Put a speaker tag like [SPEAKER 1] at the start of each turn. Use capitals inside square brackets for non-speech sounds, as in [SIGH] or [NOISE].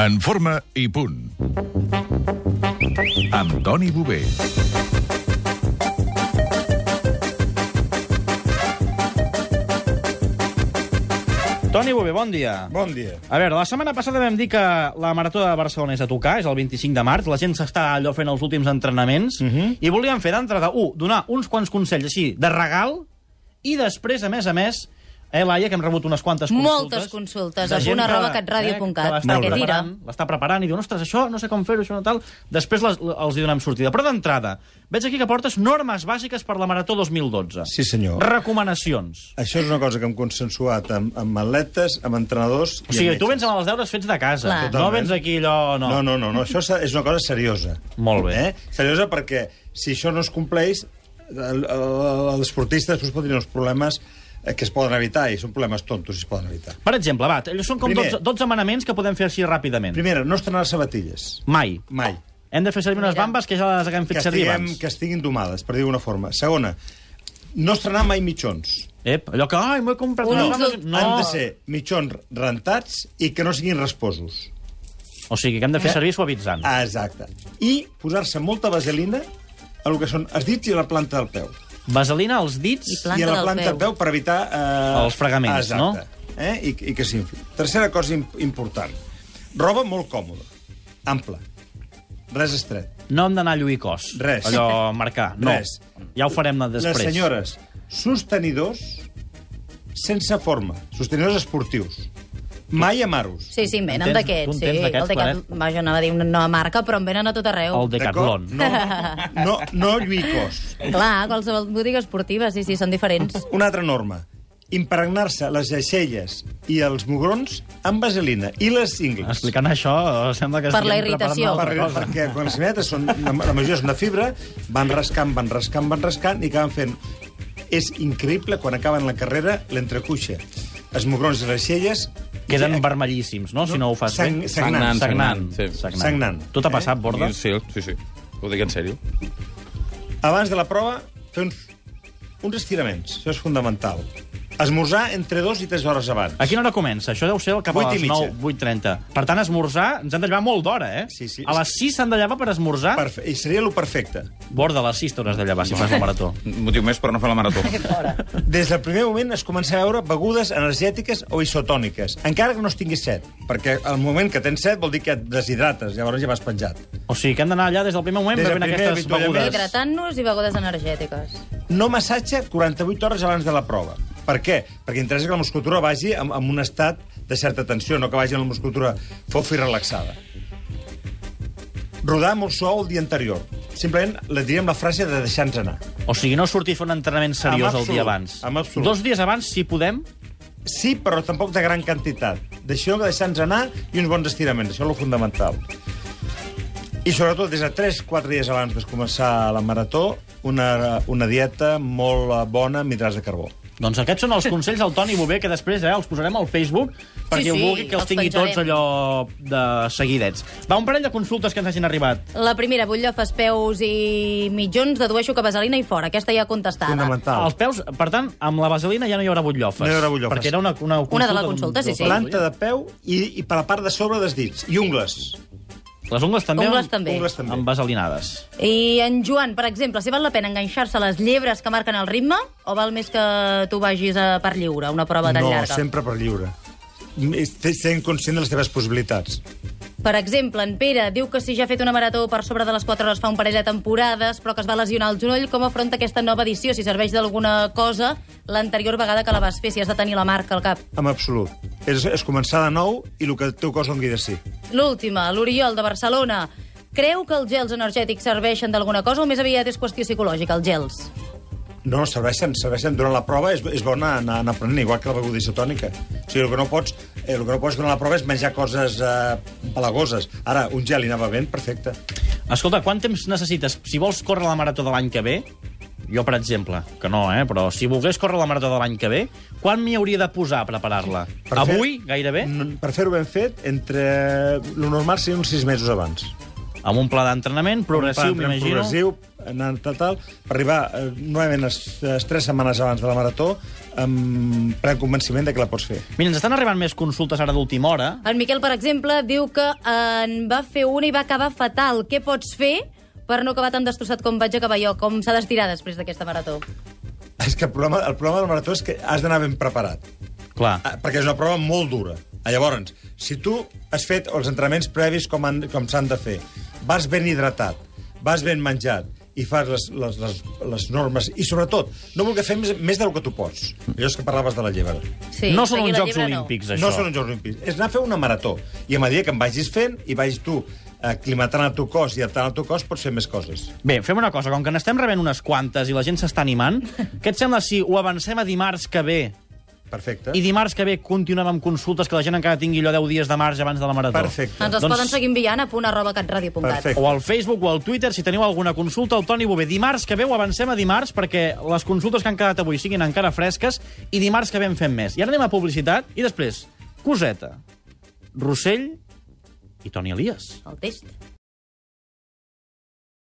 [SPEAKER 1] En forma i punt. Amb Toni Bové.
[SPEAKER 2] Toni Bové, bon dia.
[SPEAKER 3] Bon dia.
[SPEAKER 2] A veure, la setmana passada vam dir que la Marató de Barcelona és a tocar, és el 25 de març, la gent s'està allò fent els últims entrenaments,
[SPEAKER 3] Mhm.
[SPEAKER 2] i volíem fer d'entrada, un, donar uns quants consells així, de regal, i després, a més a més, eh, Laia, que hem rebut unes quantes consultes.
[SPEAKER 4] Moltes consultes,
[SPEAKER 2] de
[SPEAKER 4] a
[SPEAKER 2] gent
[SPEAKER 4] punt arroba
[SPEAKER 2] que-
[SPEAKER 4] catradio.cat,
[SPEAKER 2] que l'està
[SPEAKER 4] perquè tira.
[SPEAKER 2] preparant, L'està preparant i diu, ostres, això, no sé com fer-ho, això no tal. Després les, els hi donem sortida. Però d'entrada, veig aquí que portes normes bàsiques per la Marató 2012.
[SPEAKER 3] Sí, senyor.
[SPEAKER 2] Recomanacions.
[SPEAKER 3] Això és una cosa que hem consensuat amb, amb atletes, amb entrenadors i
[SPEAKER 2] O sigui,
[SPEAKER 3] amb
[SPEAKER 2] tu vens
[SPEAKER 3] metges.
[SPEAKER 2] amb els deures fets de casa.
[SPEAKER 4] Clar.
[SPEAKER 2] No
[SPEAKER 3] Totalment.
[SPEAKER 2] vens aquí allò...
[SPEAKER 3] No, no, no, no. això s'ha- és una cosa seriosa.
[SPEAKER 2] Molt bé.
[SPEAKER 3] Eh? Seriosa perquè si això no es compleix, el- el- l'esportista després pot tenir uns problemes eh, que es poden evitar, i són problemes tontos i es poden evitar.
[SPEAKER 2] Per exemple, va, t- són com
[SPEAKER 3] Primer.
[SPEAKER 2] 12, 12 manaments que podem fer així ràpidament.
[SPEAKER 3] Primera, no estrenar sabatilles.
[SPEAKER 2] Mai.
[SPEAKER 3] Mai.
[SPEAKER 2] Hem de fer servir unes
[SPEAKER 4] Mira.
[SPEAKER 2] bambes que ja les haguem
[SPEAKER 3] Que
[SPEAKER 2] fet servir
[SPEAKER 3] estiguem,
[SPEAKER 2] abans.
[SPEAKER 3] que estiguin domades, per dir d'alguna forma. Segona, no estrenar mai mitjons.
[SPEAKER 2] Ep, allò que, ai, m'he comprat
[SPEAKER 4] Un
[SPEAKER 2] unes
[SPEAKER 4] insult.
[SPEAKER 2] bambes...
[SPEAKER 3] Han
[SPEAKER 2] No,
[SPEAKER 3] de ser mitjons rentats i que no siguin resposos.
[SPEAKER 2] o sigui, que hem de fer servir suavitzant.
[SPEAKER 3] Ah, Exacte. I posar-se molta vaselina a lo que són els dits i a la planta del peu.
[SPEAKER 2] Vaselina als dits...
[SPEAKER 4] Planta
[SPEAKER 3] I a la
[SPEAKER 4] del
[SPEAKER 3] planta del
[SPEAKER 4] peu.
[SPEAKER 3] peu per evitar... Eh...
[SPEAKER 2] Els fregaments,
[SPEAKER 3] Exacte. Eh? I, I que s'infli. Tercera cosa im- important. Roba molt còmoda, ampla, res estret.
[SPEAKER 2] No hem d'anar a lluir cos.
[SPEAKER 3] Res.
[SPEAKER 2] Allò, marcar. No.
[SPEAKER 3] Res.
[SPEAKER 2] Ja ho farem després.
[SPEAKER 3] Les senyores, sostenidors sense forma, sostenidors esportius. Mai amaros.
[SPEAKER 4] Sí, sí, en venen
[SPEAKER 2] Tu en tens-
[SPEAKER 4] d'aquests,
[SPEAKER 2] tu
[SPEAKER 4] sí.
[SPEAKER 2] en tens d'aquests,
[SPEAKER 4] el Decathlon, vaja, anava a dir una nova marca, però en venen a tot arreu.
[SPEAKER 2] El Decathlon.
[SPEAKER 3] D'acord? No, no, no lluir cos.
[SPEAKER 4] Clar, qualsevol botiga esportiva, sí, sí, són diferents.
[SPEAKER 3] Una altra norma. Impregnar-se les aixelles i els mugrons amb vaselina i les ingles.
[SPEAKER 2] Explicant això, eh, sembla que...
[SPEAKER 4] Per
[SPEAKER 2] estiguem
[SPEAKER 4] la
[SPEAKER 2] preparant
[SPEAKER 4] irritació.
[SPEAKER 2] una
[SPEAKER 3] Per,
[SPEAKER 2] altra cosa.
[SPEAKER 3] perquè quan les cinetes són, la majoria són de fibra, van rascant, van rascant, van rascant i acaben fent... És increïble quan acaben la carrera l'entrecuixa. Els mugrons i les aixelles...
[SPEAKER 2] Queden
[SPEAKER 3] i-
[SPEAKER 2] vermellíssims, no? Si no ho fas
[SPEAKER 3] sang-
[SPEAKER 2] bé.
[SPEAKER 3] Sagnant,
[SPEAKER 2] Sagnant.
[SPEAKER 5] sagnant, sí.
[SPEAKER 2] sagnant.
[SPEAKER 3] Sagnant.
[SPEAKER 2] Tu t'ha
[SPEAKER 3] Eh?
[SPEAKER 2] passat, Borda?
[SPEAKER 5] Sí, sí, sí. Ho dic en sèrio.
[SPEAKER 3] Abans de la prova, fer uns, uns estiraments. Això és fundamental. Esmorzar entre dues i tres hores abans.
[SPEAKER 2] A quina hora comença? Això deu ser cap a
[SPEAKER 3] Vuit i
[SPEAKER 2] les
[SPEAKER 3] mitja.
[SPEAKER 2] 9, 8.30. Per tant, esmorzar, ens han de llevar molt d'hora, eh?
[SPEAKER 3] Sí, sí.
[SPEAKER 2] A les 6 s'han de llevar per esmorzar. Per...
[SPEAKER 3] Perfe I seria lo perfecte.
[SPEAKER 2] Borda a les 6 t'hauràs de llevar si fas la marató.
[SPEAKER 5] Motiu més per no fer la marató.
[SPEAKER 3] Des del primer moment es comença a veure begudes energètiques o isotòniques, encara que no es tinguis set, perquè al moment que tens set vol dir que et deshidrates, llavors ja vas penjat.
[SPEAKER 2] O sigui, que hem d'anar allà des del primer moment
[SPEAKER 3] Des del
[SPEAKER 2] bevent
[SPEAKER 3] primer
[SPEAKER 2] aquestes
[SPEAKER 3] avituallament.
[SPEAKER 2] begudes.
[SPEAKER 4] Hidratant-nos i begudes energètiques.
[SPEAKER 3] No massatge 48 hores abans de la prova. Per què? Perquè interessa que la musculatura vagi en, en un estat de certa tensió, no que vagi en la musculatura fofa i relaxada. Rodar molt suau el dia anterior. Simplement li diríem la frase de deixar-nos anar.
[SPEAKER 2] O sigui, no sortir a fer un entrenament seriós
[SPEAKER 3] Amb
[SPEAKER 2] el dia
[SPEAKER 3] absolut,
[SPEAKER 2] abans.
[SPEAKER 3] amb absolut.
[SPEAKER 2] Dos dies abans, si podem,
[SPEAKER 3] Sí, però tampoc de gran quantitat. Deixeu de deixar-nos anar i uns bons estiraments, això és el fundamental. I sobretot, des de 3-4 dies abans de començar la marató, una, una dieta molt eh, bona amb hidrats de carbó.
[SPEAKER 2] doncs aquests són els consells del Toni Bové, que després eh, els posarem al Facebook perquè ho
[SPEAKER 4] sí,
[SPEAKER 2] vulgui que els
[SPEAKER 4] els
[SPEAKER 2] tingui tots
[SPEAKER 4] penjarem.
[SPEAKER 2] allò de seguidets. Va, un parell de consultes que ens hagin arribat.
[SPEAKER 4] La primera, vull llafes, peus i mitjons, dedueixo que vaselina i fora. Aquesta ja contestada.
[SPEAKER 3] Fundamental.
[SPEAKER 2] Els peus, per tant, amb la vaselina ja no hi haurà butllofes.
[SPEAKER 3] No hi haurà butllofes.
[SPEAKER 2] Perquè era una, una consulta...
[SPEAKER 4] de la consulta, sí,
[SPEAKER 2] d'un-
[SPEAKER 4] sí.
[SPEAKER 3] Planta de peu i, i per la part de sobre dels dits. I ungles.
[SPEAKER 2] Les ungles també,
[SPEAKER 4] Ungles
[SPEAKER 2] amb-
[SPEAKER 4] també.
[SPEAKER 3] Ungles també.
[SPEAKER 2] amb vaselinades.
[SPEAKER 4] I en Joan, per exemple, si val la pena enganxar-se a les llebres que marquen el ritme o val més que tu vagis a per lliure, una prova tan
[SPEAKER 3] no,
[SPEAKER 4] llarga?
[SPEAKER 3] sempre per lliure. Estic sent conscient de les teves possibilitats.
[SPEAKER 4] Per exemple, en Pere diu que si ja ha fet una marató per sobre de les 4 hores fa un parell de temporades, però que es va lesionar el genoll, com afronta aquesta nova edició? Si serveix d'alguna cosa l'anterior vegada que la vas fer, si has de tenir la marca al cap.
[SPEAKER 3] En absolut. És, és començar de nou i el que el teu cos doni de sí.
[SPEAKER 4] L'última, l'Oriol de Barcelona. Creu que els gels energètics serveixen d'alguna cosa o més aviat és qüestió psicològica, els gels?
[SPEAKER 3] No, no, serveixen, serveixen. Durant la prova és, és bona anar, anar aprenent, igual que la beguda isotònica. O sigui, el que no pots, eh, el que no pots durant la prova és menjar coses eh, pelagoses. Ara, un gel hi anava ben perfecte.
[SPEAKER 2] Escolta, quant temps necessites? Si vols córrer la marató de l'any que ve, jo, per exemple, que no, eh? però si volgués córrer la marató de l'any que ve, quan m'hi hauria de posar a preparar-la?
[SPEAKER 3] Per fer-
[SPEAKER 2] Avui, gairebé?
[SPEAKER 3] N- Per fer-ho ben fet, entre... Lo normal seria uns sis mesos abans.
[SPEAKER 2] amb un pla d'entrenament progressiu,
[SPEAKER 3] Plan
[SPEAKER 2] m'imagino.
[SPEAKER 3] Progressiu, anant tal, tal, per arribar eh, normalment les, les 3 setmanes abans de la marató amb pren convenciment de que la pots fer. [LAUGHS]
[SPEAKER 2] Mira, ens estan arribant més consultes ara d'última hora.
[SPEAKER 4] En Miquel, per exemple, diu que eh, en va fer una i va acabar fatal. Què pots fer per no acabar tan destrossat com vaig acabar jo? Com s'ha d'estirar després d'aquesta marató?
[SPEAKER 3] És que el problema, el problema de la marató és que has d'anar ben preparat,
[SPEAKER 2] Clar.
[SPEAKER 3] eh, perquè és una prova molt dura. Ah, Llavors, si tu has fet els entrenaments previs com, han- com s'han de fer, vas ben hidratat, vas ben menjat, i fas les, les, les, les normes, i sobretot, no voler fer més, més del que tu pots. Allò és que parlaves de la llebre.
[SPEAKER 4] Sí,
[SPEAKER 2] no són
[SPEAKER 4] seguir
[SPEAKER 2] uns
[SPEAKER 4] la
[SPEAKER 2] Jocs
[SPEAKER 4] llebre,
[SPEAKER 2] Olímpics,
[SPEAKER 3] No
[SPEAKER 2] això.
[SPEAKER 3] són uns Jocs Olímpics. És anar a fer una marató. I a medida que em vagis fent i vagis tu aclimatant el teu cos i adaptant el teu cos, pots fer més coses.
[SPEAKER 2] Bé, fem una cosa, com que n'estem rebent unes quantes i la gent s'està animant, què et sembla si ho avancem a dimarts que ve?
[SPEAKER 3] Perfecte.
[SPEAKER 2] I dimarts que ve continuem amb consultes que la gent encara tingui allò 10 dies de març abans de la marató.
[SPEAKER 3] Perfecte.
[SPEAKER 4] No. Ens els
[SPEAKER 2] Doncs-
[SPEAKER 4] poden seguir enviant a punt arroba catradio.cat.
[SPEAKER 3] Perfecte.
[SPEAKER 2] O al Facebook o al Twitter, si teniu alguna consulta, el Toni Bové. Dimarts que ve ho avancem a dimarts perquè les consultes que han quedat avui siguin encara fresques i dimarts que ve en fem més. I ara anem a publicitat i després, Coseta, Rossell i Toni Elias.
[SPEAKER 4] El test.